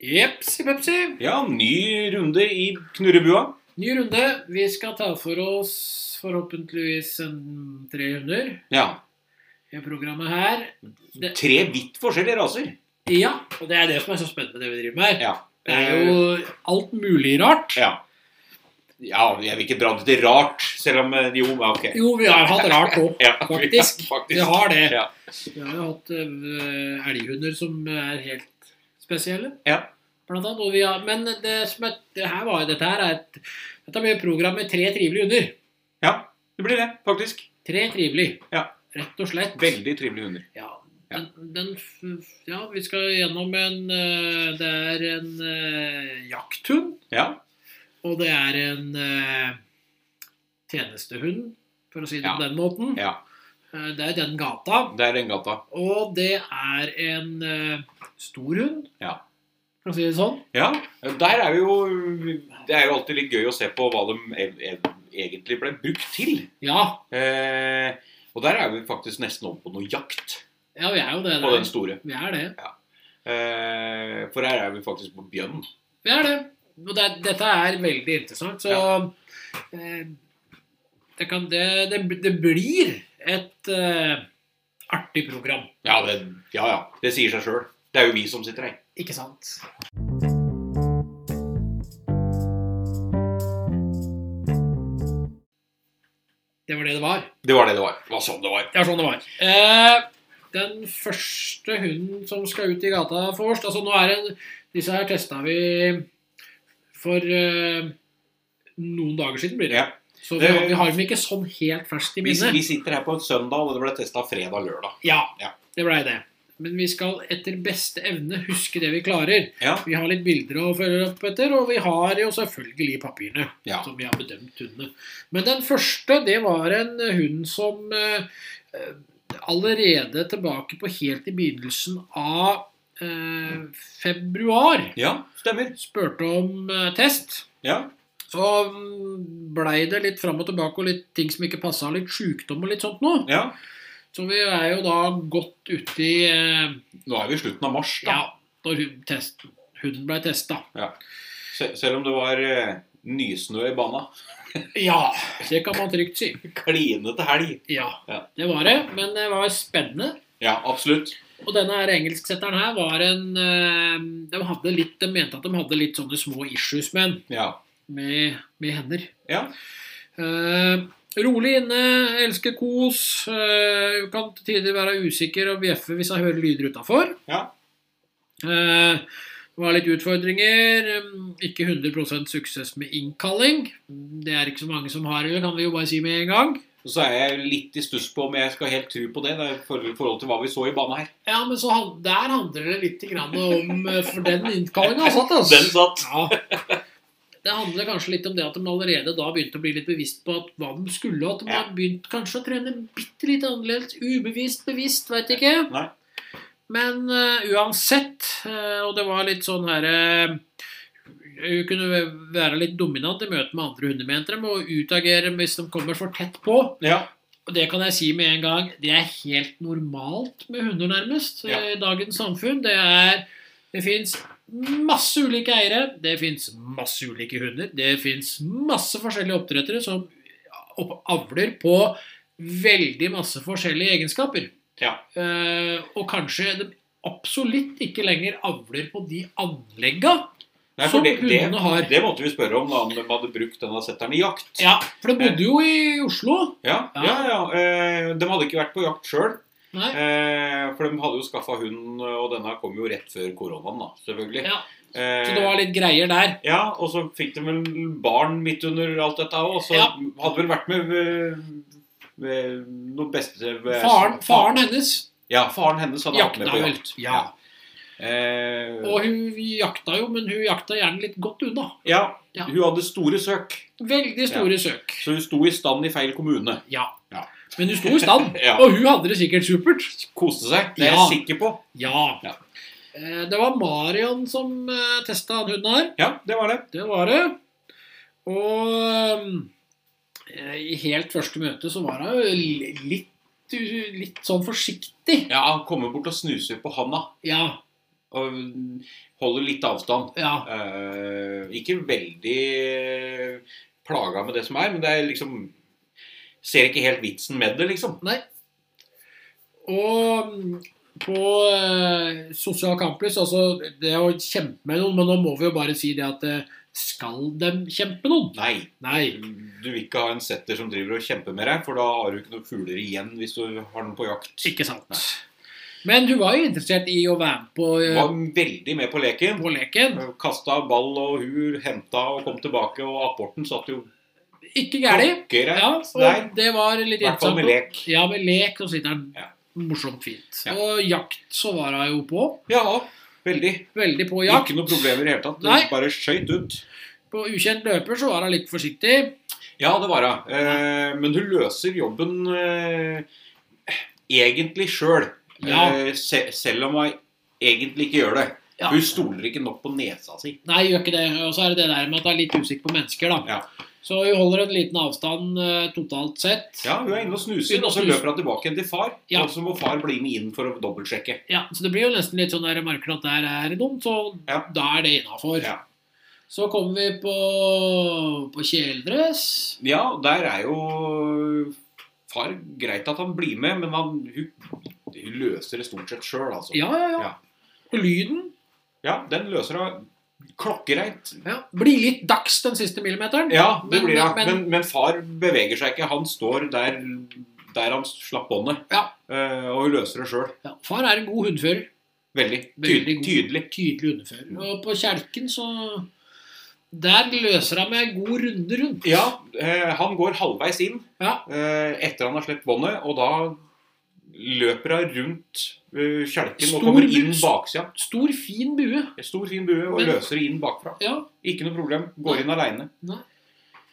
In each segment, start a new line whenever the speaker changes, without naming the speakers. Jepsi pepsi.
Ja, ny runde i knurrebua.
Ny runde. Vi skal ta for oss forhåpentligvis en 300
Ja.
i programmet her. Det-
Tre vidt forskjellige raser.
Ja, og det er det som er så spennende med det vi driver med her.
Ja.
Det er jo alt mulig rart.
Ja. ja jeg vil ikke dra det til rart, selv om eh, Jo, ja, ok.
Jo, vi har hatt rart òg.
Ja,
Faktisk.
Ja, faktisk.
Vi har det.
Ja.
Vi har jo hatt eh, elghunder som er helt spesielle.
Ja.
Blant annet, og vi har, men det som er, det her var, dette her er et Dette blir et program med tre trivelige hunder.
ja, det blir det, faktisk.
Tre trivelige.
Ja.
Rett og slett.
Veldig trivelige hunder.
Ja.
Ja.
Den, den, f- ja, vi skal gjennom en eh, Det er en eh, jakthund,
Ja.
og det er en eh, tjenestehund, for å si det
Ja.
på den måten.
ja.
Eh, det er den gata.
Det er den gata.
Og det er en eh, stor hund,
Ja.
for å si det sånn.
Ja, Eh, der er vi jo Det er jo alltid litt gøy å se på hva de e- e- egentlig ble brukt til.
Ja,
Eh, og der er vi faktisk nesten over på noe jakt
ja vi er jo det.
på den
Der.
store.
Vi er det.
Eh, for her er vi faktisk på bjørn.
Vi er det. Og det, dette er veldig interessant, så eh, det, kan, det, det, det blir et eh, artig program.
Ja, det, ja, ja. Det sier seg sjøl. Det er jo vi som sitter her.
Ikke sant? Det var det det var.
Det var det det var. Det var sånn det var.
Ja, sånn det var. Eh, den første hunden som skal ut i gata først altså nå er det, Disse her testa vi for eh, noen dager siden, blir det.
Ja.
Så vi, har- vi har dem ikke sånn helt ferskt i
Vi,
minne.
vi sitter her på en søndag, og det ble testa fredag-lørdag.
Ja,
Ja.
det blei det. Men vi skal etter beste evne huske det vi klarer.
Ja.
Vi har litt bilder å følge opp etter, og vi har jo selvfølgelig papirene.
Ja.
som vi har bedømt hundene. Men den første, det var en eh, hund som eh, eh, allerede tilbake på helt i begynnelsen av eh, februar
ja, stemmer.
spurte om eh, test.
Ja.
Så mm, blei det litt fram og tilbake og litt ting som ikke passa, litt sjukdom og litt sånt nå.
ja.
Så vi er jo da godt ute i eh,
Nå er vi i slutten av mars, da.
Ja, når hun- test, hunden blei testa.
Se, selv om det var eh, nysnø i bana.
Ja, det kan man trygt si.
Klinete helg.
Ja,
Ja.
det var det. Men det var spennende.
Ja, absolutt.
Og denne her engelsksetteren her var en eh, de, hadde litt, de mente at de hadde litt sånne små issues med, den,
Ja.
med, med hender.
Ja.
Eh, rolig inne, elsker kos. eh, kan til tider være usikker og bjeffe hvis jeg hører lyder utafor.
Ja.
det var litt utfordringer. eh, Ikke 100 suksess med innkalling. Det er ikke så mange som har det, kan vi jo bare si med en gang.
Og så er jeg litt i stuss på om jeg skal helt tro på det, da, i for- forhold til hva vi så i bana her.
Ja, men så han, der handler det litt grann om eh, For den innkallinga satt, altså.
Den satt.
Ja. Det handler kanskje litt om det at de allerede da begynte å bli litt bevisst på at hva de skulle. og At de
Ja.
har begynt kanskje å trene bitte litt annerledes. Ubevisst, bevisst, veit ikke.
Nei.
Men eh, uansett, eh, og det var litt sånn herre Hun kunne være litt dominant i møte med andre hundementere og utagere hvis de kommer for tett på.
Ja.
Og det kan jeg si med en gang, det er helt normalt med hunder, nærmest,
Ja.
eh, i dagens samfunn. Det er Det fins masse ulike eiere, det fins masse ulike hunder, det fins masse forskjellige oppdrettere som opp- avler på veldig masse forskjellige egenskaper.
Ja.
Eh, og kanskje de absolutt ikke lenger avler på de anlegga
Nei, for
som
det, det,
hundene har.
det måtte vi spørre om da, om de hadde brukt denne setteren i jakt.
Ja, for de bodde jo i Oslo.
Ja,
Ja.
ja, ja. Eh, De hadde ikke vært på jakt sjøl,
Nei.
for de hadde jo skaffa hund, og denne kom jo rett før koronaen, da, selvfølgelig.
Ja.
Eh,
Så det var litt greier der.
ja, og så fikk de vel barn midt under alt dette òg, og så
Ja.
hadde vel vært med, eh, med noen beste eh,
Faren, faren hennes
Ja, faren hennes hadde vært med
Jakta
på
vel.
jakt.
Ja.
Eh,
Og hun jakta jo, men hun jakta gjerne litt godt unna.
ja,
Ja.
hun hadde store søk,
Veldig store søk.
så hun sto i stand i feil kommune.
Ja.
Ja.
Men hun sto i stand.
Ja.
Og hun hadde det sikkert supert.
Koste seg, det er
Ja.
jeg sikker på.
Ja.
Ja.
Eh, Det var Marion som testa den hunden her.
Ja, det var det.
Det var det. Og eh, i helt første møte så var hun jo litt, litt sånn forsiktig.
Ja, han kommer bort og snuser på handa.
Ja.
Og holder litt avstand.
Ja.
Eh, ikke veldig plaga med det som er, men det er liksom Ser ikke helt vitsen med det, liksom.
Og mm, på eh, sosial campus, altså det å kjempe med noen, men nå må vi jo bare si det at eh, skal dem kjempe med noen?
Nei.
Nei.
Du vil ikke ha en setter som driver og kjemper med deg, for da har du ikke noen fugler igjen hvis du har den på jakt.
Ikke sant. Men hun var jo interessert i å være med på, eh,
Var veldig med på leken.
på leken.
Kasta ball og hun henta og kom tilbake, og apporten satt jo
Ikke gæli. Ja,
klokkereint der.
og det var litt
I hvert
interessant.
fall med lek.
Ja, med lek, og så sitter han
Ja.
morsomt fint.
Ja.
Og jakt så var hun jo på.
Ja, veldig.
Veldig på jakt.
Ikke noe problemer i det hele tatt.
Nei.
Du bare skøyt ut.
På ukjent løper så var hun litt forsiktig.
Ja, det var hun. Eh, men hun løser jobben eh, egentlig sjøl.
Ja.
Eh, se, selv om hun egentlig ikke gjør det.
Ja.
Hun stoler ikke nok på nesa si.
Nei, gjør ikke det. Og så er det det der med at hun er litt usikker på mennesker, da.
Ja.
Så hun holder en liten avstand eh, totalt sett.
Ja, hun er inne og snuser,
Inne og
og så
snuser.
løper hun tilbake igjen til far.
Ja.
Og så må far bli med inn for å dobbeltsjekke.
Ja, Så det blir jo nesten litt sånn der jeg merker at der er det dumt, så
Ja.
da er det innafor.
Ja.
Så kommer vi på, på kjeledress.
Ja, og der er jo far greit at han blir med, men han, hun, hun løser det stort sett sjøl, altså.
Ja, ja, ja.
Ja.
Og lyden.
Ja, den løser hun klokkereint.
Ja. Blir litt dags den siste millimeteren.
Ja, det
Men-
blir det.
men-
Men, men far beveger seg ikke. Han står der, der han slapp båndet.
Ja.
Eh, og hun løser det sjøl.
Ja, far er en god hundfører.
Veldig
Veldig
tydelig.
god.
tydelig.
Tydelig hundefører. Og på kjelken så Der løser han med en god runde rundt.
Ja, eh, han går halvveis inn
Ja.
eh, etter han har sluppet båndet, og da løper hun rundt eh, kjelken
Stor
og kommer inn
bus.
baksida.
Stor, fin bue.
En Stor, fin bue, og
Men-
løser det inn bakfra.
Ja.
Ikke noe problem. Går inn aleine.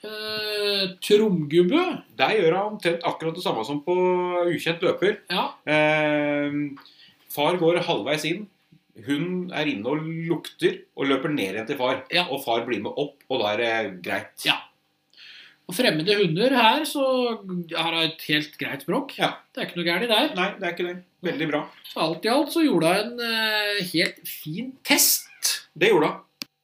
Eh, Tromgubbe.
Der gjør hun omtrent akkurat det samme som på ukjent løper.
Ja.
Eh, far går halvveis inn. Hun er inne og lukter og løper ned igjen til far.
Ja.
Og far blir med opp, og da er det greit.
Ja. Og fremmede hunder her, så har hun et helt greit språk.
Ja.
Det er ikke noe gærent der.
Nei, det er ikke det. Veldig bra.
Så alt i alt så gjorde hun en eh, helt fin test.
Det gjorde hun.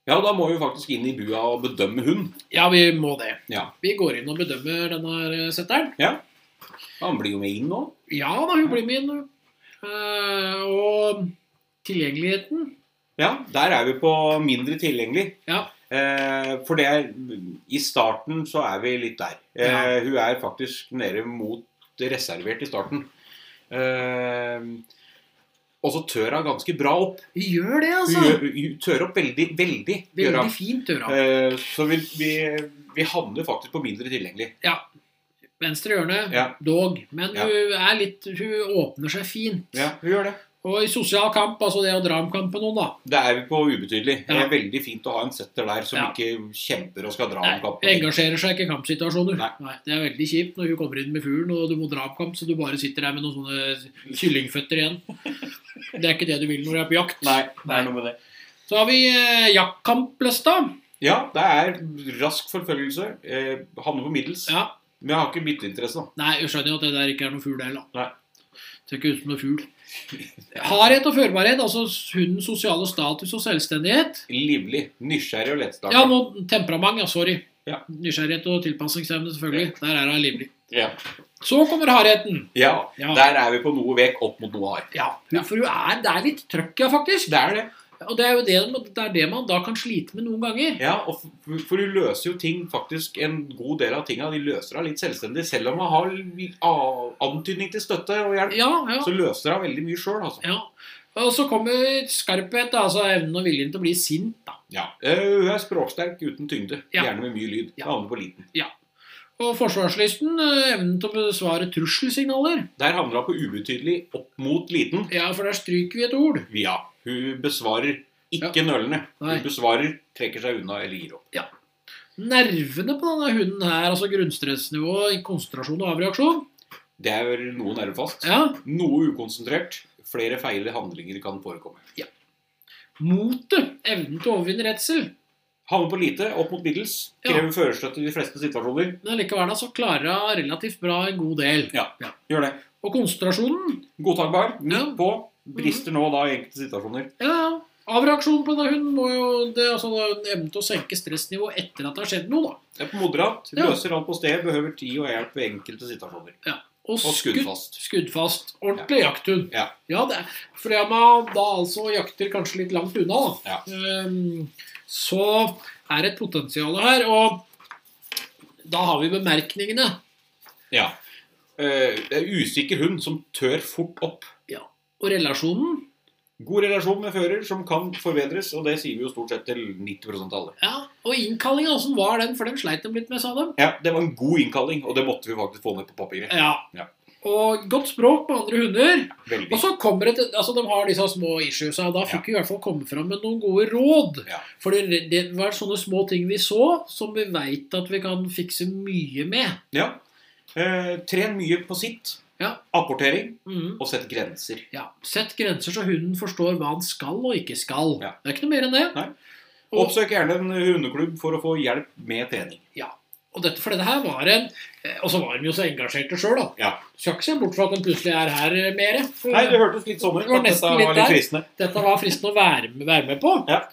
Ja, da må vi faktisk inn i bua og bedømme hund.
Ja, vi må det.
Ja.
Vi går inn og bedømmer denne her, eh, setteren.
Han blir jo med inn nå.
Ja da, hun blir med inn. hun. Eh, og tilgjengeligheten
Ja, der er vi på mindre tilgjengelig.
Ja.
Eh, for det er I starten så er vi litt der. Eh,
Ja.
Hun er faktisk nede mot reservert i starten. Eh, og så tør hun ganske bra opp.
Hun gjør det,
Hun
altså.
gjør- hun tør opp veldig, veldig. gjør
Veldig
hun.
fint, Tøra.
Eh, Så vi, vi, vi handler faktisk på mindre tilgjengelig.
Venstre hjørne,
Ja.
dog. Men
Ja.
hun er litt Hun åpner seg fint.
Ja, hun gjør det.
Og i sosial kamp, altså det å dra om kamp på noen, da.
Det er vi på ubetydelig. Det
Ja.
er veldig fint å ha en setter der som
Ja.
ikke kjemper og skal dra
Nei,
om kampen.
engasjerer seg ikke i kampsituasjoner.
Nei.
Det er veldig kjipt når hun kommer inn med fuglen, og du må dra opp kamp, så du bare sitter der med noen sånne kyllingføtter igjen. Det er ikke det du vil når du er på jakt.
Nei, det er noe med det.
Så har vi eh, jaktkamplista.
Ja, det er rask forfølgelse. Eh, Handler på middels.
Ja.
Men jeg har ikke bytteinteresse, da.
Nei, jeg skjønner jo at det der ikke er noe fugl heller.
Nei.
Ser ikke ut som noe fugl. Hardhet og førbarhet, altså hundens sosiale status og selvstendighet.
Livlig, nysgjerrig og lettstarta.
Ja, nå temperament, ja. Sorry.
Ja.
Nysgjerrighet og tilpassingsevne, selvfølgelig. Der er hun livlig.
Ja.
Så kommer hardheten.
Ja,
Ja.
Der er vi på noe vek opp mot noe hard.
Ja, For hun er, det er litt trøkk, ja, faktisk.
Det er det.
Og det er jo det, det, er det man da kan slite med noen ganger.
Ja, og for, for du løser jo ting faktisk En god del av tinga de løser deg litt selvstendig. Selv om man har li- a- antydning til støtte og hjelp,
Ja, ja.
så løser hun veldig mye sjøl, altså.
ja. Og så kommer skarphet, da, altså evnen og viljen til å bli sint. da.
Ja. Eh, Hun er språksterk uten tyngde.
Ja.
Gjerne med mye lyd. Det
Ja.
Havner på liten.
Og forsvarslysten, eh, evnen til å besvare trusselsignaler.
Der havner hun på ubetydelig opp mot liten.
Ja, for der stryker vi et ord.
Ja. Hun besvarer ikke nølende.
Nei.
Hun besvarer, trekker seg unna eller gir opp.
Nervene på denne hunden her, altså grunnstressnivå, konsentrasjon og avreaksjon.
Det er vel noe nervefast.
Ja.
Noe ukonsentrert. Flere feil handlinger kan forekomme.
Motet, evnen til å overvinne redsel.
Havner på lite, opp mot middels.
Ja.
Krever førerstøtte i de fleste situasjoner.
Men likevel da, så klarer hun relativt bra en god del.
Gjør det.
Og konsentrasjonen
Godtakbar. Midt
Ja. Mm.
på. Brister nå da i enkelte situasjoner.
ja, Avreaksjonen på denne hunden må jo det, er altså, en evne til å senke stressnivået etter at det har skjedd noe. da.
Det er moderat,
Ja.
løser alt på stedet, behøver tid og hjelp ved enkelte situasjoner.
Og,
Og skuddfast.
skuddfast. Ordentlig jakthund.
Ja.
ja det er. Fordi om man da altså jakter kanskje litt langt unna, da, ehm, så er det et potensial her. Og da har vi bemerkningene.
Ja. Eh, det er usikker hund som tør fort opp.
Og relasjonen
God relasjon med fører som kan forbedres, og det sier vi jo stort sett til 90 av alle.
ja, og innkallinga, åssen var den? For den sleit de litt med, sa de.
Ja, Det var en god innkalling, og det måtte vi faktisk få ned på papiret.
Ja.
Ja.
Og godt språk på andre hunder. Og
Veldig.
så kommer det til- altså De har disse små issuesa, og da fikk vi i hvert fall komme fram med noen gode råd.
Ja.
For det, det var sånne små ting vi så, som vi veit at vi kan fikse mye med.
Ja. Eh, tren mye på sitt.
Ja.
Apportering
Mhm.
og sett grenser.
Ja. Sett grenser så hunden forstår hva han skal og ikke skal.
Ja.
Det er ikke noe mer enn det.
Nei.
Og-
Oppsøk gjerne en hundeklubb for å få hjelp med trening.
Og dette, for dette her var en eh, Og så var de jo så engasjerte sjøl, da.
Ja.
Skal ikke se bort fra at de plutselig er her eh, mer. For-
Nei, det hørtes litt sånn ut.
Det var
at dette
nesten litt
var litt
der.
fristende.
Dette var fristende å være med, være med på.
Ja.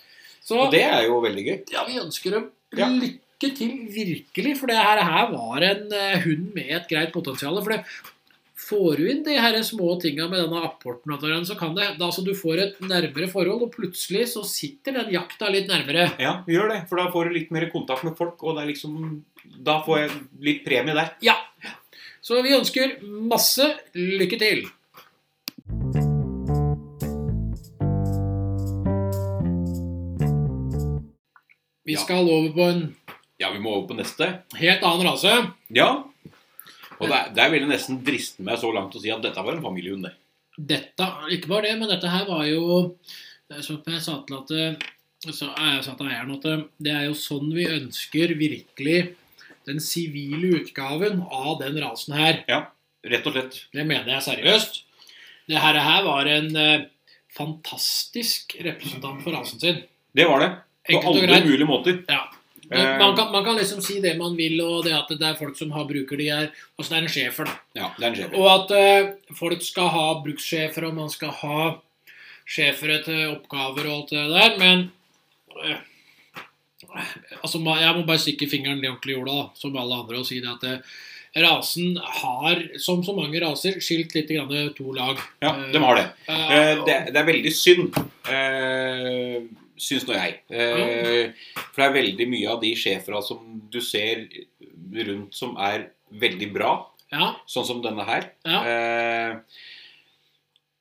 Så
Og det er jo veldig gøy.
ja, vi ønsker dem
Ja.
lykke til, virkelig. For det her, her var en eh, hund med et greit potensial. For det får du inn de her små tinga med denne apporten, og sånn, så kan det, da, altså, du får et nærmere forhold, og plutselig så sitter den jakta litt nærmere.
Ja, gjør det, for da får du litt mer kontakt med folk, og det er liksom Da får jeg litt premie der.
Så vi ønsker masse lykke til. Vi
Ja.
skal over på en
Ja, vi må over på neste.
helt annen rase.
Ja. Og der, der vil jeg nesten driste meg så langt å si at dette var en familiehund, det.
dette, ikke bare det, men dette her var jo det er Som jeg sa til at eh, så jeg sa til eieren at eh, det er jo sånn vi ønsker virkelig den sivile utgaven av den rasen her.
Rett og slett.
Det mener jeg seriøst. Det her, her var en eh, fantastisk representant for rasen sin.
Det var det. På
Enkelt og
alle
greit.
mulige måter.
Ja.
Eh,
Man kan, man kan liksom si det man vil, og det at det er folk som har bruker de her. Altså det er en schæfer, da.
Ja, det er en schæfer.
Og at eh, folk skal ha brukssjefer, og man skal ha sjefer etter oppgaver og alt det der, men eh, Altså, ma- jeg må bare stikke fingeren ned i ordentlig i jorda, da, som alle andre, og si det at eh, rasen har, som så mange raser, skilt litt grann to lag.
Ja, de har det. Eh,
Eh,
det, det er veldig synd, eh, syns nå jeg. Eh, for det er veldig mye av de schæfera som du ser rundt som er veldig bra,
ja,
sånn som denne her.
ja.
Eh,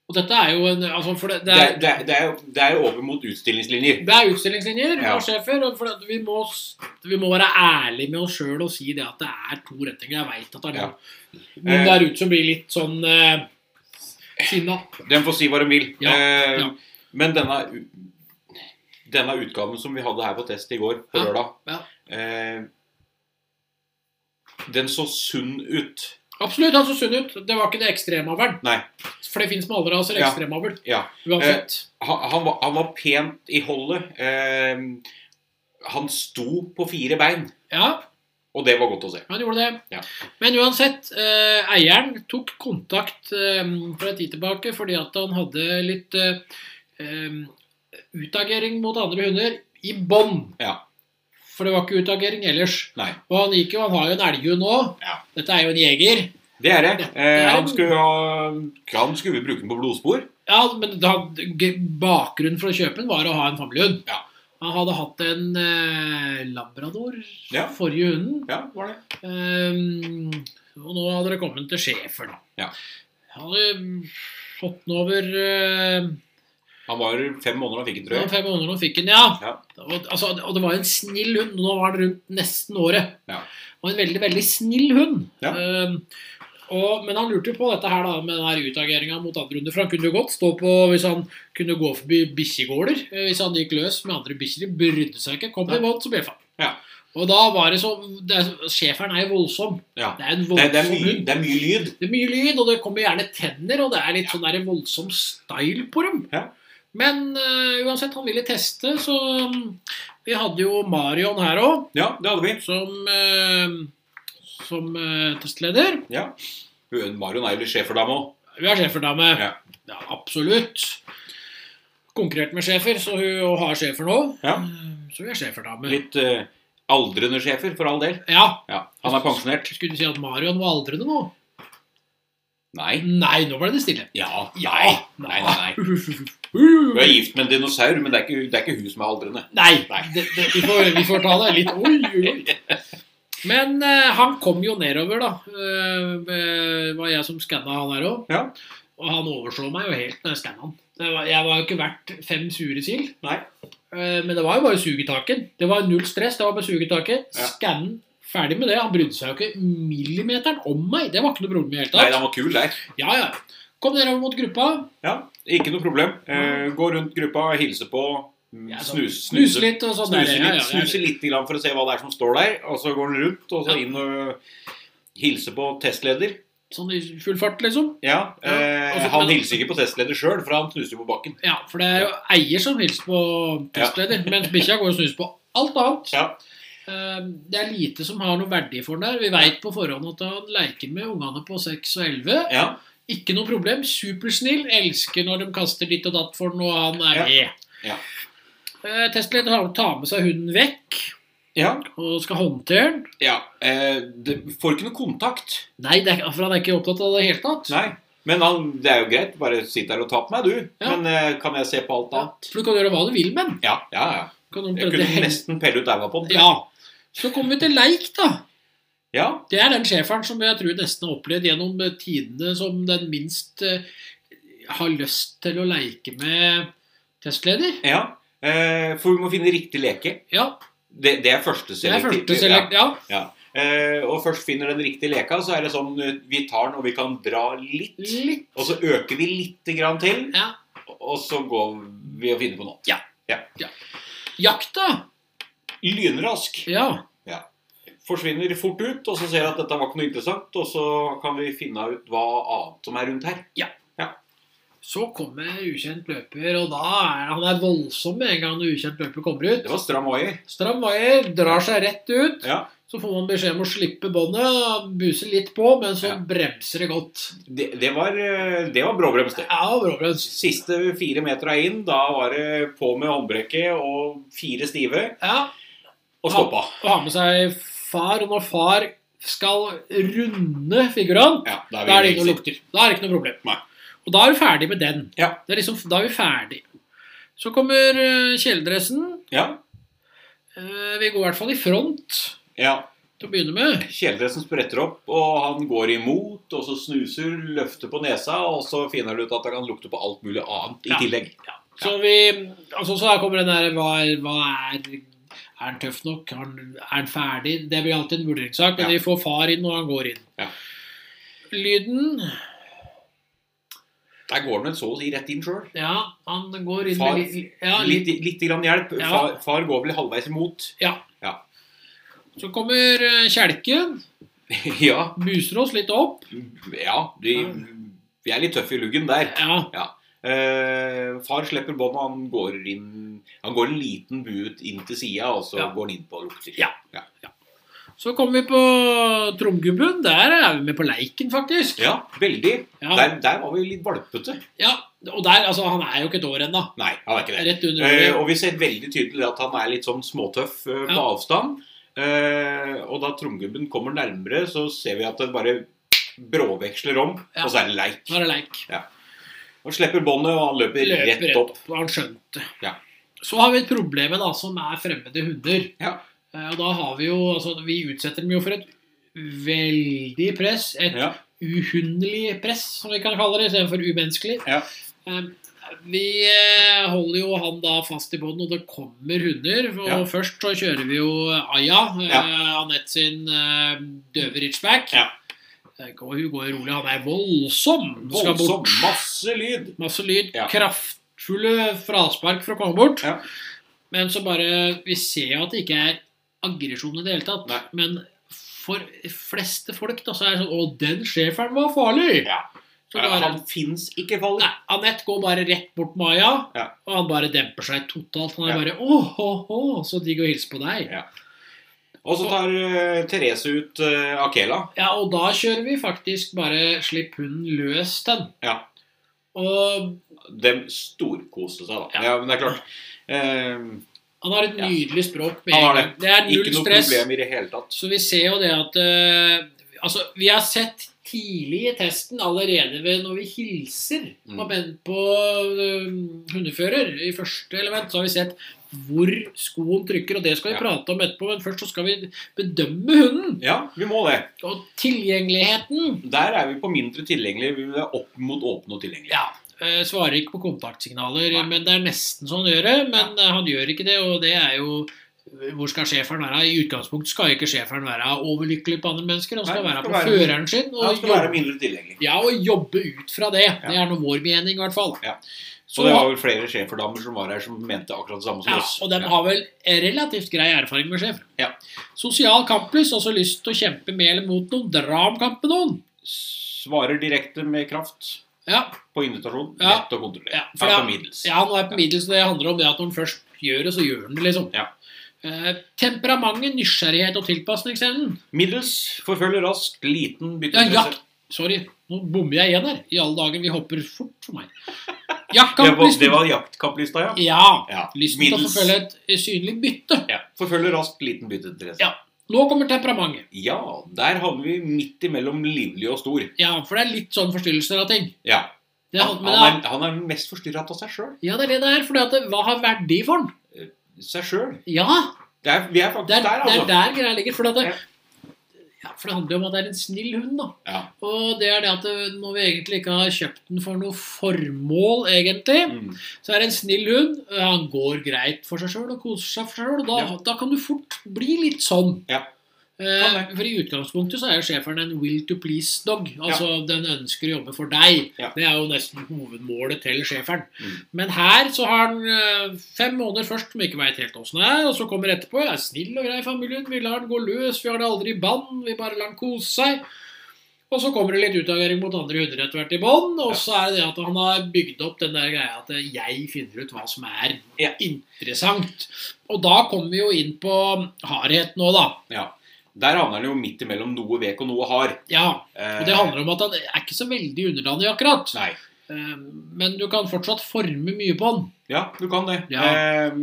Og dette er jo en altså, for det, det,
det,
er,
er, det, er, det, er, jo- det er jo over mot utstillingslinjer.
Det er utstillingslinjer
Ja.
og sjefer. og For at vi, må, s- vi må være ærlige med oss sjøl og si det at det er to retninger. Jeg veit at det er
Ja.
noen, noen
Eh.
der ute som blir litt sånn eh, sinna.
De får si hva de vil.
Ja,
Eh,
ja.
Men denne, u- denne utgaven som vi hadde her på test i går, på
Ja,
lørdag,
ja.
eh, den så sunn ut.
Absolutt, han så sunn ut. Det var ikke det ekstremavlen.
Nei.
For det fins med alle raser
Ja.
ekstremavl.
Ja.
Uansett.
Han, han, var, han var pent i holdet. Eh, han sto på fire bein,
Ja,
og det var godt å se.
han gjorde det.
Ja.
Men uansett, eh, eieren tok kontakt eh, for en tid tilbake fordi at han hadde litt eh, eh, utagering mot andre hunder i bånd.
Ja.
For det var ikke utagering ellers.
Nei.
Og han gikk jo, han har jo en elghund nå.
Ja.
Dette er jo en jeger.
Det er det. Eh,
er-
han, skulle ha, han skulle bruke den på blodspor.
Ja, men da, g- bakgrunnen for å kjøpe den var å ha en familiehund.
Ja.
Han hadde hatt en eh, labrador,
Ja.
forrige hunden.
Ja, var det.
Ehm, og nå hadde det kommet til schæfer, da.
Ja.
Han hadde mm, fått den over eh,
Han var fem måneder da han fikk
det
den, tror
var
jeg.
fem måneder og fikk den, ja.
Ja.
Og, altså, og det var en snill hund. Nå var den rundt nesten året.
Ja.
Og en veldig, veldig snill hund.
Ja.
Ehm, og, men han lurte jo på dette her da med den utageringa mot andre hunder. For han kunne jo godt stå på hvis han kunne gå forbi bikkjegårder. eh, Hvis han gikk løs med andre bikkjer. de Brydde seg ikke. Kom
Nei.
i båt, så bjeffa han.
Ja.
Og da var det så det er, Schæferen er jo voldsom.
Ja.
Det er en
Det,
voldsom
det, er mye,
hund.
det er mye lyd.
Det er mye lyd, og det kommer gjerne tenner, og det er litt sånn der voldsom style på dem.
Ja.
Men eh, uansett, han ville teste, så mm, vi hadde jo Marion her òg,
Ja, det hadde vi.
som, eh, som eh, testleder.
Ja. Hun- Marion er jo litt sjeferdame òg.
Vi har sjeferdame.
Ja.
absolutt. konkurrert med schæfer, så hun og har schæfer nå.
Ja.
Eh, Så hun er schæferdame.
Litt eh, aldrende sjefer, for all del.
Ja.
Ja, Han er pensjonert.
Skulle du si at Marion var aldrende nå?
Nei.
Nei, nå ble det stille.
Ja.
Ja.
Nei. Nei, nei, nei. Hun er gift med en dinosaur, men det er ikke, det er ikke hun som er aldrende.
Nei, det, det, vi, får, vi får ta det litt oi, oi, oi. Men eh, han kom jo nedover, da. Eh, eh, var jeg som skanna han her òg.
Ja.
Og han overså meg jo helt når jeg skanna han. Det var, jeg var jo ikke verdt fem sure sild.
Nei.
Eh, men det var jo bare sugetaken. Det var null stress. Det var bare sugetaket.
Ja.
Skannen, ferdig med det. Han brydde seg jo ikke millimeteren om meg. Det var ikke noe problem i det hele
Nei,
tatt.
han var kul der.
Ja, ja. Kom nedover mot gruppa.
Ja, Ikke noe problem. Eh, gå rundt gruppa, hilse på, mm,
Ja, sånn,
snus,
Snuse
snuse,
litt og sånn. der.
snuse
Ja, ja,
litt,
ja.
snuse litt grann for å se hva det er som står der. Og så går han rundt, og så
Ja.
inn og hilse på testleder.
Sånn i full fart, liksom.
Ja,
Ja, og
eh,
så-
Han
men-
hilser ikke på testleder sjøl, for han snuser jo på bakken.
Ja, for det er jo eier som hilser på testleder, mens bikkja går og snuser på alt annet.
Ja,
Eh, Det er lite som har noe verdi for den der. Vi veit på forhånd at han leker med ungene på 6 og 11.
ja,
Ikke noe problem. Supersnill. Elsker når de kaster ditt og datt for den, og han er
Ja.
med.
Ja.
Eh, Testleder har- tar med seg hunden vekk
ja,
og skal håndtere den.
ja. Eh, det, får ikke noe kontakt.
Nei, det er, for han er ikke opptatt av det i det hele tatt.
Nei. Men han, det er jo greit. Bare sitt der og ta på meg, du.
Ja.
Men eh, kan jeg se på alt
Ja,
annet?
for du kan gjøre hva du vil med den.
Ja, ja, ja.
Du Kan
Jeg
omtrent
kunne
henge-
nesten pelle ut ræva på den.
ja. Så kommer vi til leik, da.
ja.
Det er den schæferen som jeg tror nesten har opplevd gjennom eh, tidene som den minst eh, har lyst til å leke med testleder.
ja. Eh, for vi må finne riktig leke.
Ja,
Det, det er første
det er
selektiv.
første selekt... Ja.
Eh, og først finner den riktige leka, så er det sånn eh, vi tar den, og vi kan dra litt.
Litt.
Og så øker vi lite grann til,
Ja.
og så går vi og finner på noe.
Jakta!
Lynrask
Ja.
forsvinner fort ut, og så ser jeg at dette var ikke noe interessant, og så kan vi finne ut hva annet som er rundt her.
Så kommer ukjent løper, og da er han er voldsom med en gang ukjent løper kommer ut.
Det var stram vaier.
Stram vaier, drar seg rett ut.
Ja.
Så får man beskjed om å slippe båndet, buse litt på, men så
Ja.
bremser det godt.
Det, det var, eh, det var bråbrems, det.
Ja, bråbrems.
Siste fire metera inn, da var det på med håndbrekket og fire stive,
Ja.
og stoppa.
å ha med seg far, og når far skal runde figuren,
Ja, da
da er det
i
ikke noe lukter. Da er det ikke noe problem.
Nei.
Og da er du ferdig med den.
Ja.
Det er liksom, da er vi ferdig. Så kommer eh, kjeledressen.
Ja,
Eh, Vi går i hvert fall i front
ja.
til å begynne med.
Kjeledressen spretter opp, og han går imot, og så snuser, løfter på nesa, og så finner han ut at han kan lukte på alt mulig annet i
Ja.
tillegg.
Så vi Altså, så her kommer den der Hva, er- hva er er han tøff nok? Er han, er han ferdig? Det blir alltid en vurderingssak, men
Ja.
vi får far inn, og han går inn.
Ja.
Lyden
Der går han vel så å si rett inn sjøl.
Ja, han går inn
Far-
med litt, ja, litt
Litt, litt grann hjelp.
Ja.
Far, far går vel halvveis imot.
Så kommer eh, kjelken,
ja,
buser oss litt opp.
ja de, vi er litt tøffe i luggen der.
Ja,
Eh, far slipper båndet, og han går inn Han går en liten bu ut inn til sida, og så
Ja.
går han inn på og lukter.
Ja. Så kommer vi på Tromgubben. Der er vi med på leiken, faktisk.
Ja, veldig.
Ja,
Der, der var vi litt valpete.
ja. Og der, altså, han er jo ikke et år ennå.
Nei, han er ikke det.
Rett under
Eh,
året.
og vi ser veldig tydelig at han er litt sånn småtøff eh, på
Ja.
avstand. Eh, og da tromgubben kommer nærmere, så ser vi at det bare bråveksler om,
Ja.
og så er det leik.
Da er det leik.
Og slipper båndet, og han løper
Løper
rett opp.
Og han skjønte.
Ja.
Så har vi et problem da, som er fremmede hunder.
Ja.
Eh, Og da har vi jo altså, Vi utsetter dem jo for et veldig press. Et
Ja.
uhundelig press, som vi kan kalle det, istedenfor umenneskelig.
Ja.
Eh, Vi eh, holder jo han da fast i båten, og det kommer hunder. Og
Ja.
først så kjører vi jo Aya, eh, Anette sin eh, døve ridgeback.
Ja.
Eh, og Hun går rolig. Han er voldsom. Skal
Voldsom.
bort.
Masse lyd.
Masse lyd.
Ja.
Kraftfulle fraspark for å komme bort.
Ja.
Men så bare Vi ser jo at det ikke er aggresjon i det hele tatt.
Nei.
Men for fleste folk da, så er det sånn Å, den schæferen var farlig!
Ja.
Så
Eh,
bare,
Han fins ikke, Valle.
nei, Anette går bare rett bort Maya,
Ja.
og han bare demper seg totalt. Han er
Ja.
bare Å, hå, hå, så digg å hilse på deg.
Ja. Og så tar eh, Therese ut eh, Akela.
Ja, og da kjører vi faktisk bare Slipp hunden løs, den.
Ja.
Og
De storkoste seg, da.
Ja.
Ja. men det er klart. Eh,
han har et
Ja.
nydelig språk. Med
Han har
en gang. det er
ikke
null
noe
stress.
problem i det hele tatt.
Så vi ser jo det at eh, Altså, vi har sett tidlig i testen allerede ved når vi hilser på,
Mm.
men- på eh, hundefører i første element, så har vi sett hvor skoen trykker, og det skal vi
Ja.
prate om etterpå. Men først så skal vi bedømme hunden.
Ja, vi må det.
Og tilgjengeligheten
Der er vi på mindre tilgjengelig. Vi er opp mot åpne og tilgjengelig.
ja, eh, svarer ikke på kontaktsignaler,
Nei.
men det er nesten sånn han gjør det. Men eh, han gjør ikke det, og det er jo hvor skal schæferen være? I utgangspunktet skal ikke schæferen være overlykkelig på andre mennesker. Han skal
Nei,
være
skal
på
være-
føreren sin.
Ja, det skal
jobbe-
være mindre tilgjengelig.
Ja, og jobbe ut fra det. Det er noe vår mening, i hvert fall.
Ja.
Så,
Så det var vel flere schæferdamer som var her, som mente akkurat det samme som
ja,
oss.
og de
Ja.
har vel relativt grei erfaring med sjef.
Ja.
Sosial kamplyst, altså lyst til å kjempe med eller mot noen. Dra om kamp med noen.
Svarer direkte med kraft
Ja,
på invitasjon.
Ja.
Lett å kontrollere.
Ja,
Ja,
for det-
på middels.
ja nå er på middels, og det handler om det at når en først gjør det, så gjør en det, liksom.
Ja.
Eh, temperamentet, nysgjerrighet og tilpasningsevnen.
Middels, forfølger raskt, liten
Ja,
bytteinteresse.
jakt Sorry, nå bommer jeg igjen her. I alle dager, vi hopper fort for meg.
det, var,
Jaktkamplysten.
det var jaktkapplista, ja.
Ja.
ja.
Lysten til å forfølge et eh, synlig bytte.
Ja. Forfølger raskt, liten bytteinteresse.
Ja. Nå kommer temperamentet.
ja, der havner vi midt imellom livlig og stor.
Ja, for det er litt sånn forstyrrelser av ting.
Ja.
Det,
Han,
han, men
han,
det,
er, han er mest forstyrra av seg sjøl.
er- ja, det er det det er. For hva har verdi for den?
Seg sjøl.
Ja,
Vi er
det
faktisk
er
der,
det er
altså.
der greia ligger. For, at det, ja, for det handler jo om at det er en snill hund, da.
Ja.
Og det er det at det- når vi egentlig ikke har kjøpt den for noe formål, egentlig,
Mm.
så er det en snill hund. Han går greit for seg sjøl og koser seg for seg sjøl. Og da,
Ja.
da kan du fort bli litt sånn.
Ja.
Eh,
Kan
for i utgangspunktet så er jo schæferen en will to please dog. Altså den ønsker å jobbe for deg.
Ja.
Det er jo nesten hovedmålet til schæferen.
Mm.
Men her så har han eh, fem måneder først som ikke veit helt åssen det er, og så kommer etterpå. Jeg er snill og grei familie, vi lar den gå løs, vi har det aldri i bånd, vi bare lar den kose seg. Og så kommer det litt utagering mot andre hunder etter hvert i bånd, og
Ja.
så er det det at han har bygd opp den der greia at jeg finner ut hva som er
Ja.
interessant. Og da kommer vi jo inn på hardhet nå, da.
ja. Der havner han jo midt imellom noe vek og noe hard.
Ja,
Eh,
og det handler om at han er ikke så veldig underdanig akkurat.
Nei.
Eh, Men du kan fortsatt forme mye på han.
Ja, du kan det.
Ja.
Eh,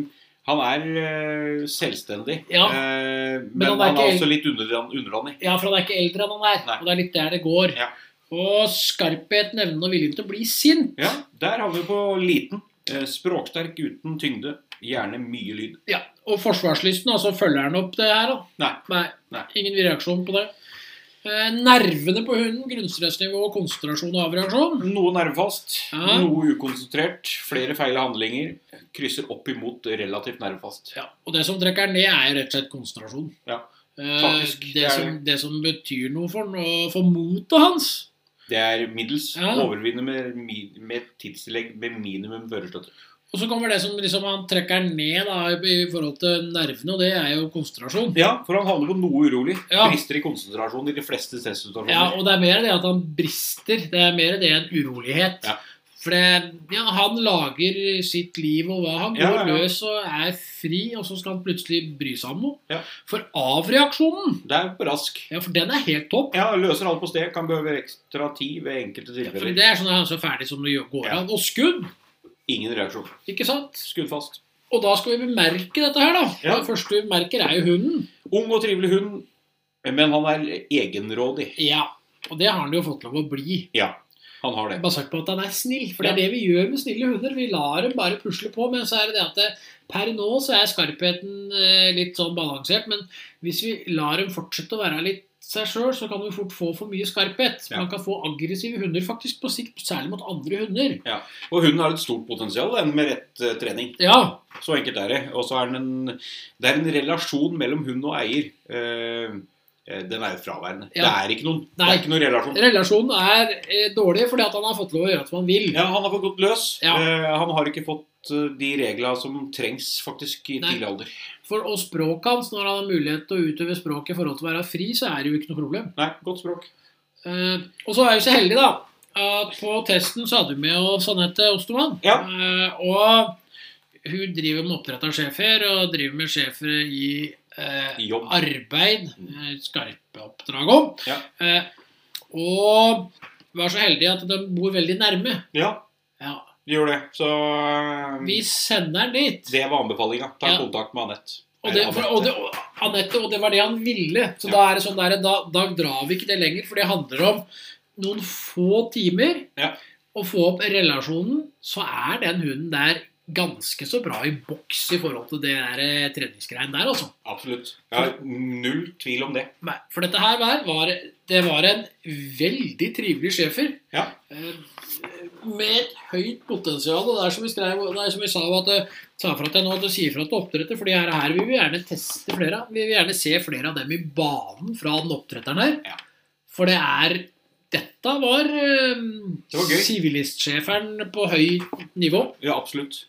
han er eh, selvstendig,
Ja.
eh, men,
Men han
han
er
er,
ikke-
også litt underdan- underdanig.
Ja, for han er ikke eldre enn han er.
Nei.
Og det er litt der det går.
Ja.
Og skarphet, nevnen og viljen til å bli sint.
Ja, Der har vi på liten. Eh, språksterk uten tyngde. Gjerne mye lyd.
Ja, Og forsvarslysten, altså følger han opp det her, da?
Nei.
Nei.
Nei.
Ingen reaksjon på det. Eh, Nervene på hunden, grunnstressnivå, konsentrasjon og avreaksjon.
Noe nervefast,
Ja.
noe ukonsentrert, flere feil handlinger. Krysser opp imot relativt nervefast.
Ja, og det som trekker den ned, er jo rett og slett konsentrasjon.
Ja,
Eh,
faktisk,
det,
det er
som, det som betyr noe for den, og for motet hans.
Det er middels.
Ja.
Overvinne med, mi- med tidstillegg med minimum førerstøtte.
Og så kommer det som liksom han trekker ned da, i forhold til nervene, og det er jo konsentrasjon.
Ja, for han handler på noe urolig.
Ja.
Brister i konsentrasjon i de fleste stressituasjoner.
Ja, og det er mer det at han brister. Det er mer det enn urolighet.
Ja.
For det, ja, han lager sitt liv og hva han går
Ja, ja, ja.
løs og er fri, og så skal han plutselig bry seg om noe.
Ja.
For avreaksjonen,
Det er på rask.
ja, for den er helt topp.
Ja, løser alt på sted. Kan behøve ekstra tid ved enkelte
For
tilfeller.
det er sånn at han er så ferdig som det gjør- går
Ja.
an. Og skudd,
Ingen reaksjon.
ikke sant?
Skudd fast.
Og da skal vi bemerke dette her, da.
Ja.
Det første vi bemerker, er jo hunden.
Ung og trivelig hund, men han er egenrådig.
Ja. Og det har han jo fått lov å bli.
Ja, han har det.
Basert på at han er snill. For det er det vi gjør med snille hunder. Vi lar dem bare pusle på. Men så er det det at det, per nå så er skarpheten eh, litt sånn balansert. Men hvis vi lar dem fortsette å være litt seg sjøl, så kan vi fort få for mye skarphet.
Ja.
Man kan få aggressive hunder faktisk på sikt, særlig mot andre hunder.
Og hunden har et stort potensial, den med rett eh, trening.
Ja,
Så enkelt er det. Og så er den en, det er en relasjon mellom hund og eier. Eh, eh, den er jo fraværende.
Ja.
Det er ikke noen. Det
Nei.
er ikke noen relasjon.
relasjonen er eh, dårlig fordi at han har fått lov å gjøre som han vil.
Ja, han har fått gått løs.
Ja.
Eh, han har ikke fått eh, de regla som trengs, faktisk, i
Nei.
tidlig alder.
For, og språket hans, når han har mulighet til å utøve språket i forhold til å være fri, så er det jo ikke noe problem.
Nei, godt språk.
Eh, og så er vi så heldige, da, at på testen så hadde vi med oss Anette Ostermann.
Ja.
Eh, og hun driver med oppdrett av schæfer, og driver med schæfer i eh,
I jobb.
arbeid. Eh, skarpe oppdrag om.
Ja.
Eh, og var så heldige at de bor veldig nærme.
Ja,
Ja.
Gjør det. Så eh,
Vi sender den dit.
det var anbefalinga. Ta
Ja.
kontakt med Anette.
Og det, for, og, det, og, Anette, og det var det han ville. Så
Ja.
da er det sånn der, da, da drar vi ikke det lenger, for det handler om noen få timer.
Ja.
Å få opp relasjonen, så er den hunden der ganske så bra i boks i forhold til det der eh, treningsgreien der, altså.
Absolutt. Jeg har null tvil om det.
Nei, For dette her var, var, det var en veldig trivelig schæfer.
Ja.
Eh, Med et høyt potensial. Og det er som vi, skrev, det er som vi sa, at, eh, sa fra til nå, at du sier fra til oppdretter, for de her, her vil vi gjerne teste flere av. Vi vil gjerne se flere av dem i banen fra den oppdretteren her.
Ja.
For det er Dette var, eh,
Det var gøy.
sivilistsjeferen på høyt nivå.
Ja, absolutt.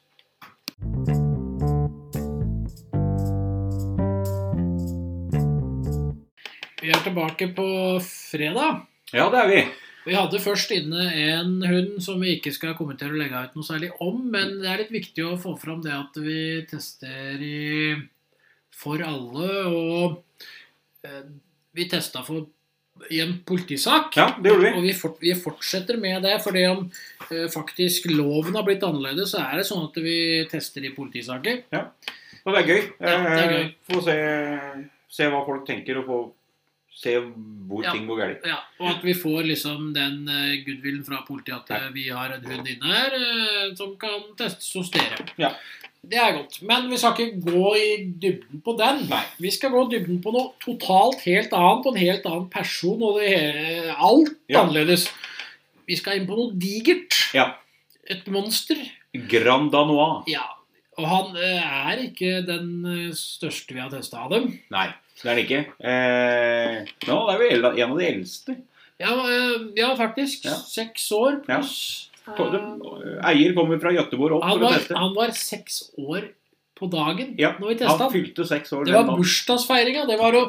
Vi er tilbake på fredag.
Ja, det er vi.
Vi hadde først inne en hund som vi ikke skal kommentere og legge ut noe særlig om, men det er litt viktig å få fram det at vi tester i, for alle, og eh, vi testa for, i en politisak.
Ja, det gjorde vi.
Og vi, fort, vi fortsetter med det, for om eh, faktisk loven har blitt annerledes, så er det sånn at vi tester i politisaker.
Og det er gøy.
Ja, det er gøy.
Eh, Få se, se hva folk tenker, og få se hvor
Ja.
ting går galt.
Ja, og at vi får liksom den eh, goodwillen fra politiet at eh, vi har en hund inne her eh, som kan testes hos dere.
Ja.
Det er godt. Men vi skal ikke gå i dybden på den.
Nei.
Vi skal gå i dybden på noe totalt helt annet og en helt annen person og det hele, alt
Ja.
annerledes. Vi skal inn på noe digert.
Ja.
Et monster.
Grand Danois.
Ja. Og han eh, er ikke den eh, største vi har testa av dem.
Nei, det er det ikke. Eh, nå det er vi el- en av de eldste.
Ja, eh, ja faktisk.
Ja.
Seks år
Ja.
pluss.
Kom-
eh,
de- Eier kommer fra Gøteborg opp
Han
for å
var,
teste.
han var seks år på dagen
Ja,
når ah, vi testa
Han
han.
fylte seks år.
Det
den
var
dagen.
bursdagsfeiringa. Det var å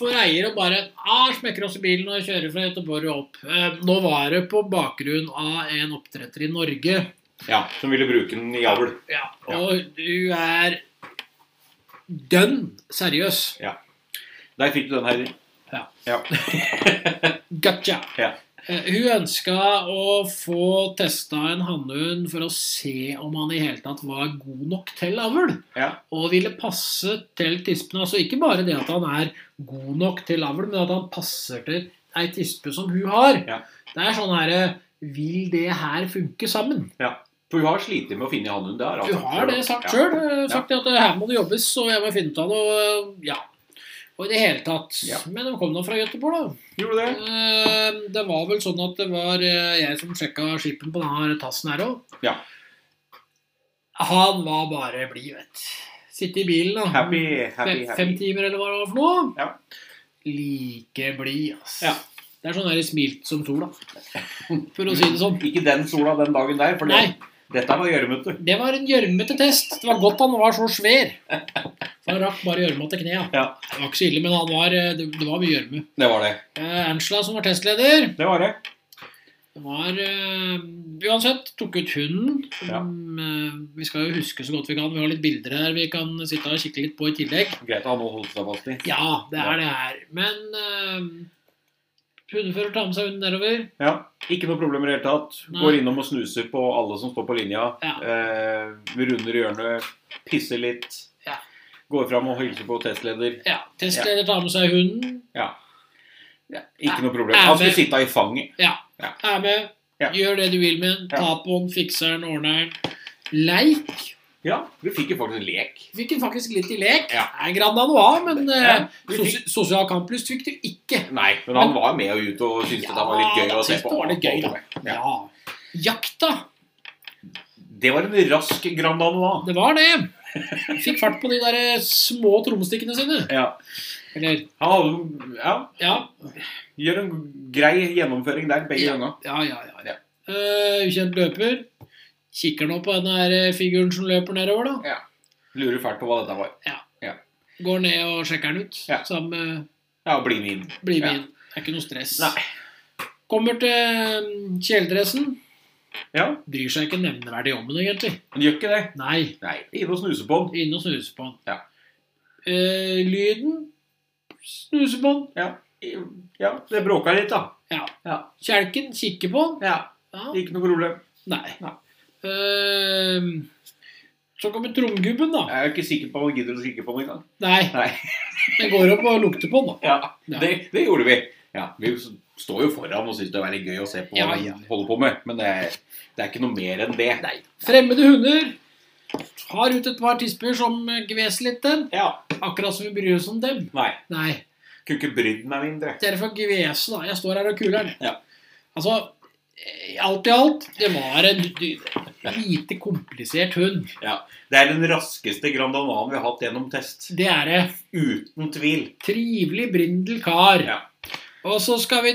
for eier å bare ah, smekker oss i bilen og kjører fra Göteborg og opp. Eh, nå var det på bakgrunn av en oppdretter i Norge.
Ja, Som ville bruke den i avl.
Ja, og du er dønn seriøs.
Der fikk du den her.
Ja.
ja.
Gotcha.
Ja.
Eh, hun ønska å få testa en hannhund for å se om han i hele tatt var god nok til avl.
Ja.
Og ville passe til tispene. Altså ikke bare det at han er god nok til avl, men at han passer til ei tispe som hun har.
Ja.
Det er sånn herre Vil det her funke sammen?
For hun har slitt med å finne hannhund. det har hun
Du
sagt
har det sagt
selv. Ja.
sjøl. Sagt at eh, her må det jobbes, og jeg må finne ut av det. Og eh, ja. Og i det hele tatt.
Ja.
Men de kom nå fra Göteborg, da.
Gjorde det?
Eh, Det var vel sånn at det var eh, jeg som sjekka skipen på denne tassen her òg.
Ja.
Han var bare blid, vet Sitte i bilen, da.
Happy, happy,
Fem- Fem
happy.
timer, eller hva det var for noe.
Ja.
Like blid, ass.
Ja.
Det er sånn der smilt som sola, for å si det sånn.
Ikke den sola den dagen der, for det,
Nei,
dette var gjørmete.
det var en gjørmete test. Det var godt han var så svær. For han rakk bare gjørma til knea.
Ja.
Det var ikke så ille, men han var, eh, det, det var mye gjørme.
Det var det.
Eh, Angela, som var testleder,
Det var det.
Det var eh, Uansett, tok ut hunden.
Ja.
Mm, eh, vi skal jo huske så godt vi kan. Vi har litt bilder her vi kan sitte og kikke litt på i tillegg.
Greit å ha noe å holde seg fast i.
Ja, det
Ja.
er det her. Men eh, hundefører tar med seg hunden nedover.
Ja, Ikke noe problem i det hele tatt.
Nei.
Går innom og snuser på alle som står på linja.
Ja.
Eh, vi runder hjørnet, pisser litt.
Ja.
Går fram og hilser på testleder.
Ja, Testleder tar med seg hunden.
Ja. Ikke noe problem.
Er
Han skulle
det-
sitte i fanget.
Er med.
Ja.
Gjør det du vil med den.
Ja.
Ta på den, fikser den, ordner den. Leik.
Ja, vi fikk jo faktisk lek.
Fikk den faktisk litt i lek.
Ja.
Det er Grand Anois, men eh,
Ja, vi
sos-
fikk-
sosial kamplyst fikk du ikke.
Nei, men han var med og ut og syntes det var litt gøy
Ja,
å
han
se
syntes
på.
det var litt gøy, da.
Ja.
Ja. Jakta.
Det var en rask Grand Anois.
Det var det. Fikk fart på de der små trommestikkene sine.
Ja.
Eller,
Han hadde, ja,
ja.
gjør en grei gjennomføring der begge
Ja.
ganger.
Ja, ja, ja. ja. Eh, ukjent løper. Kikker nå på den her eh, figuren som løper nedover, da.
Lurer fælt på hva dette var.
Går ned og sjekker den ut.
Ja.
Sammen med
Ja, bli med inn.
Bli med
Ja.
inn. Det er ikke noe stress.
Nei.
Kommer til eh, kjeledressen.
Ja,
Bryr seg ikke nevneverdig om den, egentlig.
han gjør ikke det.
Nei.
Nei, inn og snuse på den.
Inne og snuse på den.
Ja.
Eh, lyden snuse på den.
Ja, det bråka litt, da.
Ja.
Ja.
Kjelken kikker på den.
Ja,
Ja.
Ikke noe problem.
Nei.
Nei.
Eh, så kommer tromgubben, da.
Jeg er ikke sikker på om han gidder å kikke på den engang.
Nei.
Nei.
Jeg går opp og lukter på den, da.
Ja,
Ja.
det, det gjorde vi. Ja, vi s- står jo foran og syns det er veldig gøy å se på hva
Ja,
de
ja.
holder på med. Men det er, det er ikke noe mer enn det.
Fremmede hunder har ut et par tisper som gveser litt den.
Ja.
Akkurat som vi bryr oss om dem.
Nei.
Nei.
Kunne ikke brydd meg mindre.
Derfor gvese, da. Jeg står her og kuler den.
Ja.
Altså, eh, alt i alt, det var en dy- lite komplisert hund.
Det er den raskeste Grandanaen vi har hatt gjennom test.
Det er det.
Uten tvil.
Trivelig, brindel kar.
Ja.
Og så skal vi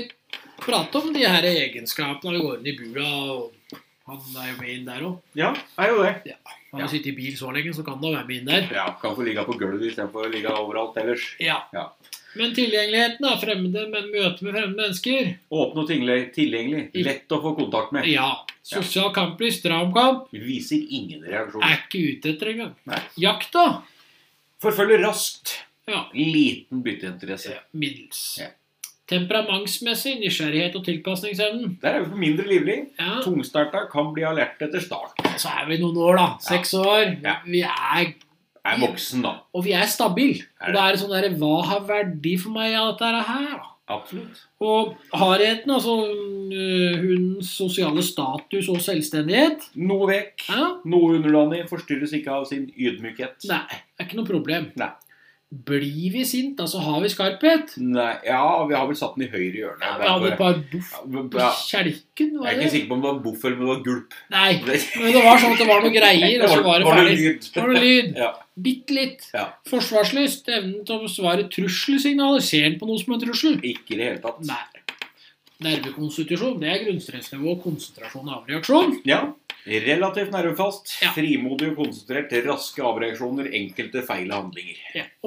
prate om de her egenskapene når vi går inn i bua. og Han er jo med inn der òg.
Ja, er jo det.
Han har
Ja.
sittet i bil så lenge, så kan han være med inn der.
Ja, Kan få ligge på gulvet istedenfor å ligge overalt ellers.
Ja.
Ja.
Men tilgjengeligheten er fremmede, men møte med fremmede mennesker.
Åpne og tingle- tilgjengelig.
Mm.
Lett å få kontakt med.
Ja. Sosial kamplyst, stram kamp.
Viser ingen reaksjon.
Er ikke ute etter engang.
Nei.
Jakt, da?
Forfølger raskt.
Ja.
Liten bytteinteresse.
Middels.
Ja.
Temperamentsmessig nysgjerrighet og tilpasningsevnen.
Der er vi på mindre livlig.
Ja,
Tungstarta kan bli alert etter start.
Så er vi noen år, da. Seks år.
Ja.
Vi er
Er voksen, da.
Og vi er stabile.
Er
Og da er det sånn derre Hva har verdi for meg av dette her? da?
Absolutt.
Og hardheten, altså øh, hundens sosiale status og selvstendighet
Noe vekk.
ja,
Noe underdanig forstyrres ikke av sin ydmykhet.
Nei, det er ikke noe problem.
Nei.
Blir vi sint, altså har vi skarphet?
Nei, Ja, vi har vel satt den i høyre hjørne.
Ja, vi hadde et par boff
Ja,
på
ja.
kjelken,
Jeg
var
er ikke
det?
sikker på om det var boff eller om det var gulp.
Nei.
Det
Men det var sånn at det var noe greier, og så var det
noe
ferdig.
lyd.
Det var noe lyd.
Ja.
Bitte litt.
Ja.
Forsvarslyst. Evnen til å besvare trusselsignaler. Ser den på noe som en trussel?
Ikke i det hele tatt.
Nei. Nervekonstitusjon, det er grunnstressnivå, konsentrasjon og avreaksjon.
Ja. Relativt nervefast,
Ja.
frimodig og konsentrert, raske avreaksjoner, enkelte feil handlinger.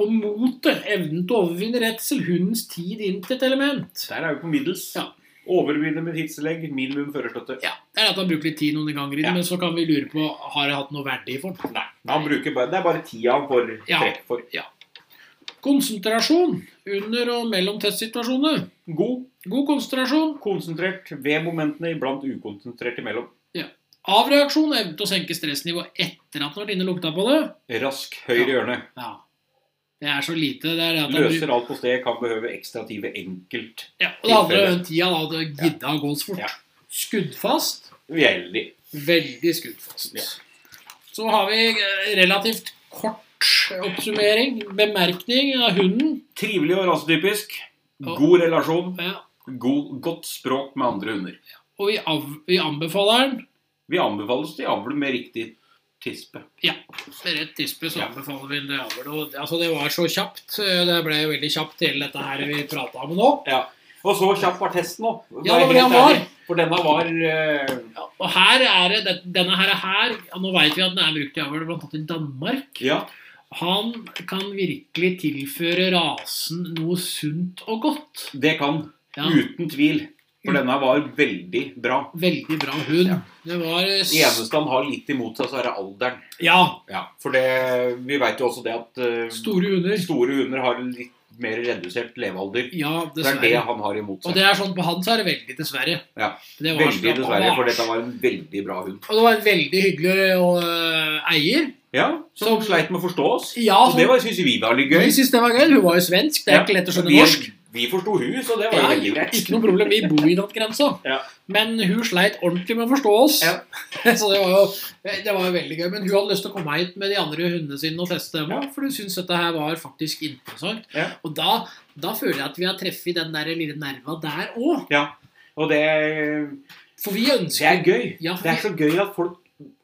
Og motet, evnen til å overvinne redsel, hundens tid inn til et element.
Der er vi på middels.
Ja.
Overbegynner med tidstillegg, minimum førerstøtte.
Ja, Det er at han bruker litt tid noen ganger, i det,
Ja.
men så kan vi lure på har jeg hatt noe verdi for den.
Nei, han bruker bare, det er bare tida han får
Ja.
trekk for.
Konsentrasjon under og mellom testsituasjoner.
God,
God konsentrasjon.
konsentrert ved momentene, iblant ukonsentrert imellom.
Avreaksjon, evnen til å senke stressnivået etter at han har vært inne og lukta på det.
Rask høyre
Ja.
hjørne.
Ja. Det er så lite. Det er det at han bruker
Løser alt på sted, kan behøve ekstra tid ved enkelt.
ja, Og det handler om den tida da det gidda å gå så
Ja.
fort. Skuddfast.
Veldig.
Veldig skuddfast.
Ja.
Så har vi eh, relativt kort oppsummering. Bemerkning av hunden.
Trivelig og rasetypisk.
Ja.
altså, God relasjon.
Ja.
God, godt språk med andre hunder.
Og vi, av, vi anbefaler den.
Vi anbefales til avl med riktig tispe.
Med rett tispe så
Ja.
anbefaler vi den. det avl. Og, altså, det var så kjapt. eh, Det ble jo veldig kjapt hele dette her vi prata om nå.
Og så kjapp var testen òg.
Ja, det var det han var.
For denne var eh,
Ja, og her er det, det- denne her, er her ja, Nå veit vi at den er brukt i avl bl.a. i Danmark.
Ja.
Han kan virkelig tilføre rasen noe sunt og godt.
Det kan.
Ja.
Uten tvil. For denne var veldig bra.
Veldig bra hund.
Ja. altså-
Det var eh, s-
Det eneste han har litt imot seg, så er det alderen.
Ja,
Ja, For det, vi veit jo også det at eh,
Store hunder.
store hunder har en litt mer redusert levealder.
Ja,
Det er det
dessverre.
han har imot
Og
seg.
det er sånn, På han så er det veldig dessverre.
Ja.
Det var
Veldig
slapp-
dessverre, for
var-
dette var en veldig bra hund.
Og det var en veldig hyggelig øh, eier.
Ja,
Som-
Som sleit med å forstå oss.
Ja,
Og det syns vi var litt gøy.
Vi syntes det var gøy. Hun var jo svensk. Det er ikke lett å skjønne
vi,
norsk.
Vi forsto hun, så det var jo
Ja,
veldig greit.
ikke noe problem. Vi bor i nattgrensa.
Ja.
Men hun sleit ordentlig med å forstå oss.
Ja.
Så det var, jo, det var jo veldig gøy. Men hun hadde lyst til å komme hit med de andre hundene sine og teste dem òg, for hun syntes dette her var faktisk interessant.
Ja.
Og da, da føler jeg at vi har treffet den der lille nerva der òg.
Og det,
For vi
det er
ønsker
gøy.
Ja, for
Det er så gøy at folk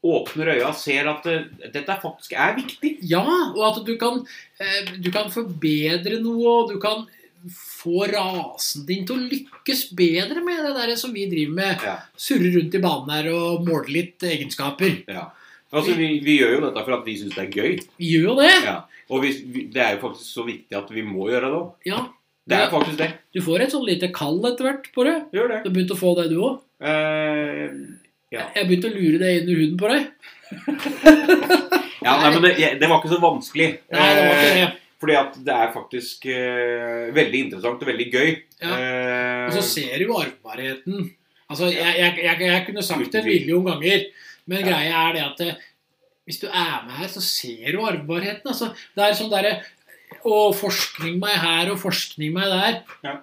åpner øya og ser at eh, dette faktisk er viktig.
Ja, og at du kan, eh, du kan forbedre noe, og du kan få rasen din til å lykkes bedre med det der som vi driver med.
Ja.
Surre rundt i banen her og måle litt egenskaper.
Altså, vi, vi gjør jo dette for at vi syns det er gøy.
Vi gjør jo det.
Ja. Og vi, vi, det er jo faktisk så viktig at vi må gjøre det òg.
Ja.
Det
Ja.
er faktisk det.
Du får et sånn lite kall etter hvert på det.
Gjør det.
Du har begynt å få det, du òg.
Eh, Ja.
Jeg begynte å lure det inn i huden på deg.
ja, nei, men det, jeg- det var ikke så vanskelig.
Nei, det var ikke det.
Eh, Fordi at det er faktisk eh, veldig interessant og veldig gøy.
Ja.
Eh,
Og så ser du jo arvbarheten. Altså, jeg, jeg, jeg, jeg kunne sagt det
Uten
en
tvil.
million ganger, Men
Ja.
greia er det at eh, hvis du er med her, så ser du arvbarheten. Altså. Det er sånn derre Å, forskning meg her og forskning meg der.
Ja.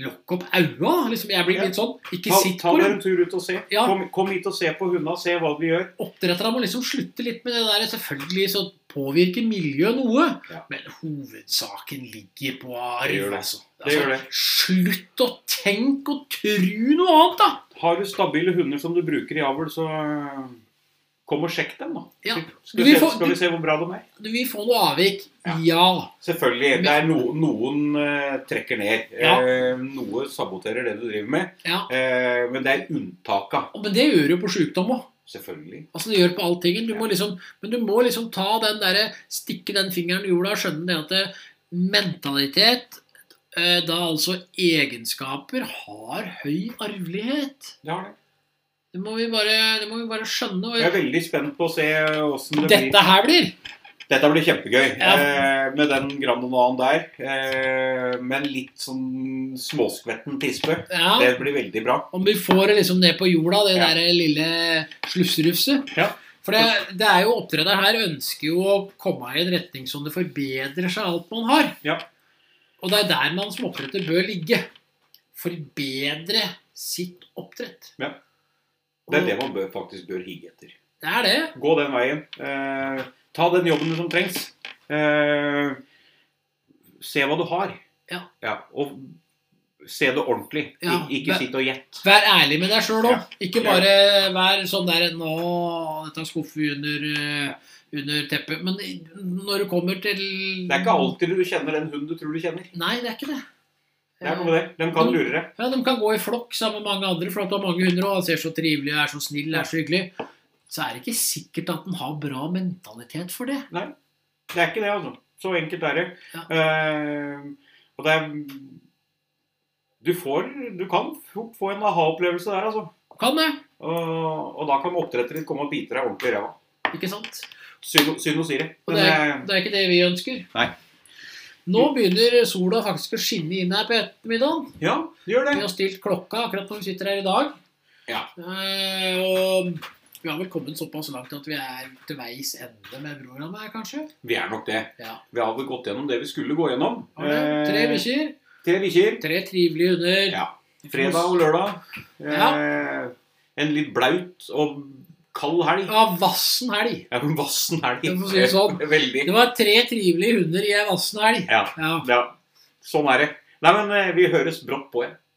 Lokk opp aua! Liksom, jeg blir
Ja.
litt sånn. Ikke
Ta,
sitt
ta
på
dere
dem.
en tur ut og se.
Ja.
Kom, kom hit og se på hundene, se hva de gjør.
Oppdretterne må liksom slutte litt med det der. Selvfølgelig så påvirker miljøet noe,
Ja.
men hovedsaken ligger på
Det gjør
arv.
det.
Altså.
Det gjør det.
Slutt å tenke og tru noe annet, da!
Har du stabile hunder som du bruker i avl, så øh, kom og sjekk dem, da.
Ja.
Skal,
Vi
vi se,
får-
skal vi se hvor bra de er.
Du vil få noe avvik.
Ja.
ja.
Selvfølgelig. Det er no, noen eh, trekker ned.
Ja.
Eh, noe saboterer det du driver med.
Ja.
Eh, men det er unntaka.
Og- Men det gjør du jo på sjukdom òg.
Selvfølgelig.
Altså det gjør på alltingen. Du må liksom, men du må liksom ta den derre Stikke den fingeren i jorda og skjønne det at det, mentalitet eh, da altså egenskaper har høy arvelighet.
Det har det.
Det må vi bare, det må vi bare skjønne.
Jeg er
Og
veldig spent på å se åssen det blir.
dette her blir
Dette blir kjempegøy
Ja.
eh, med den granonaen der. Eh, men litt sånn småskvetten tispe.
ja,
Det blir veldig bra.
Om vi får det liksom ned på jorda, det
Ja.
derre lille slufserufset.
Ja.
For det, det er jo oppdretteren her ønsker jo å komme i en retning som det forbedrer seg alt man har.
Ja.
Og det er der man som oppdretter bør ligge. Forbedre sitt oppdrett.
Ja. Det er det man bør, faktisk bør hige etter.
Det er det.
Gå den veien. Eh, ta den jobben som trengs. Eh, se hva du har.
Ja.
og se det ordentlig. Ik-
Ja,
ikke
det-
sitt og gjett.
Vær ærlig med deg sjøl
Ja.
òg. Ikke bare vær sånn der Nå, dette skuffer vi under, eh, under teppet. Men i- når du kommer til
Det er ikke alltid du kjenner den hunden du tror du kjenner.
Nei, det er ikke det. Eh,
Det er noe med det. Den kan lure deg.
Ja, De kan gå i flokk sammen med mange andre, for at du har mange hundre og han ser så trivelig og er så snill er så hyggelig. Så er det ikke sikkert at den har bra mentalitet for det.
Det er ikke det, altså. Så enkelt er det.
Ja.
Eh, og det er Du får Du kan fort få en aha-opplevelse der, altså.
Kan det,
Og, og da kan oppdretteren din komme og bite deg ordentlig i ræva.
ikke sant?
Synd synd å si det.
Og
Men
det er,
eh,
det er ikke det vi ønsker.
Nei.
Nå begynner sola faktisk å skinne inn her på ettermiddagen.
eh, ja, gjør det.
Vi har stilt klokka akkurat når vi sitter her i dag.
Ja.
Eh, og vi har vel kommet såpass langt at vi er til veis ende med programmet her, kanskje.
Vi er nok det.
Ja.
Vi hadde gått gjennom det vi skulle gå gjennom.
Har det? Tre
Eh,
bikkjer,
tre bikkjer.
tre trivelige hunder.
Ja. Fredag og lørdag. Eh, En litt blaut og kald helg.
Ja, vassen helg.
Ja, men vassen helg.
Jeg får si det sånn.
Veldig.
Det var tre trivelige hunder i ei vassen helg.
Ja.
Ja.
ja. Sånn er det. Nei, men eh, vi høres brått på igjen.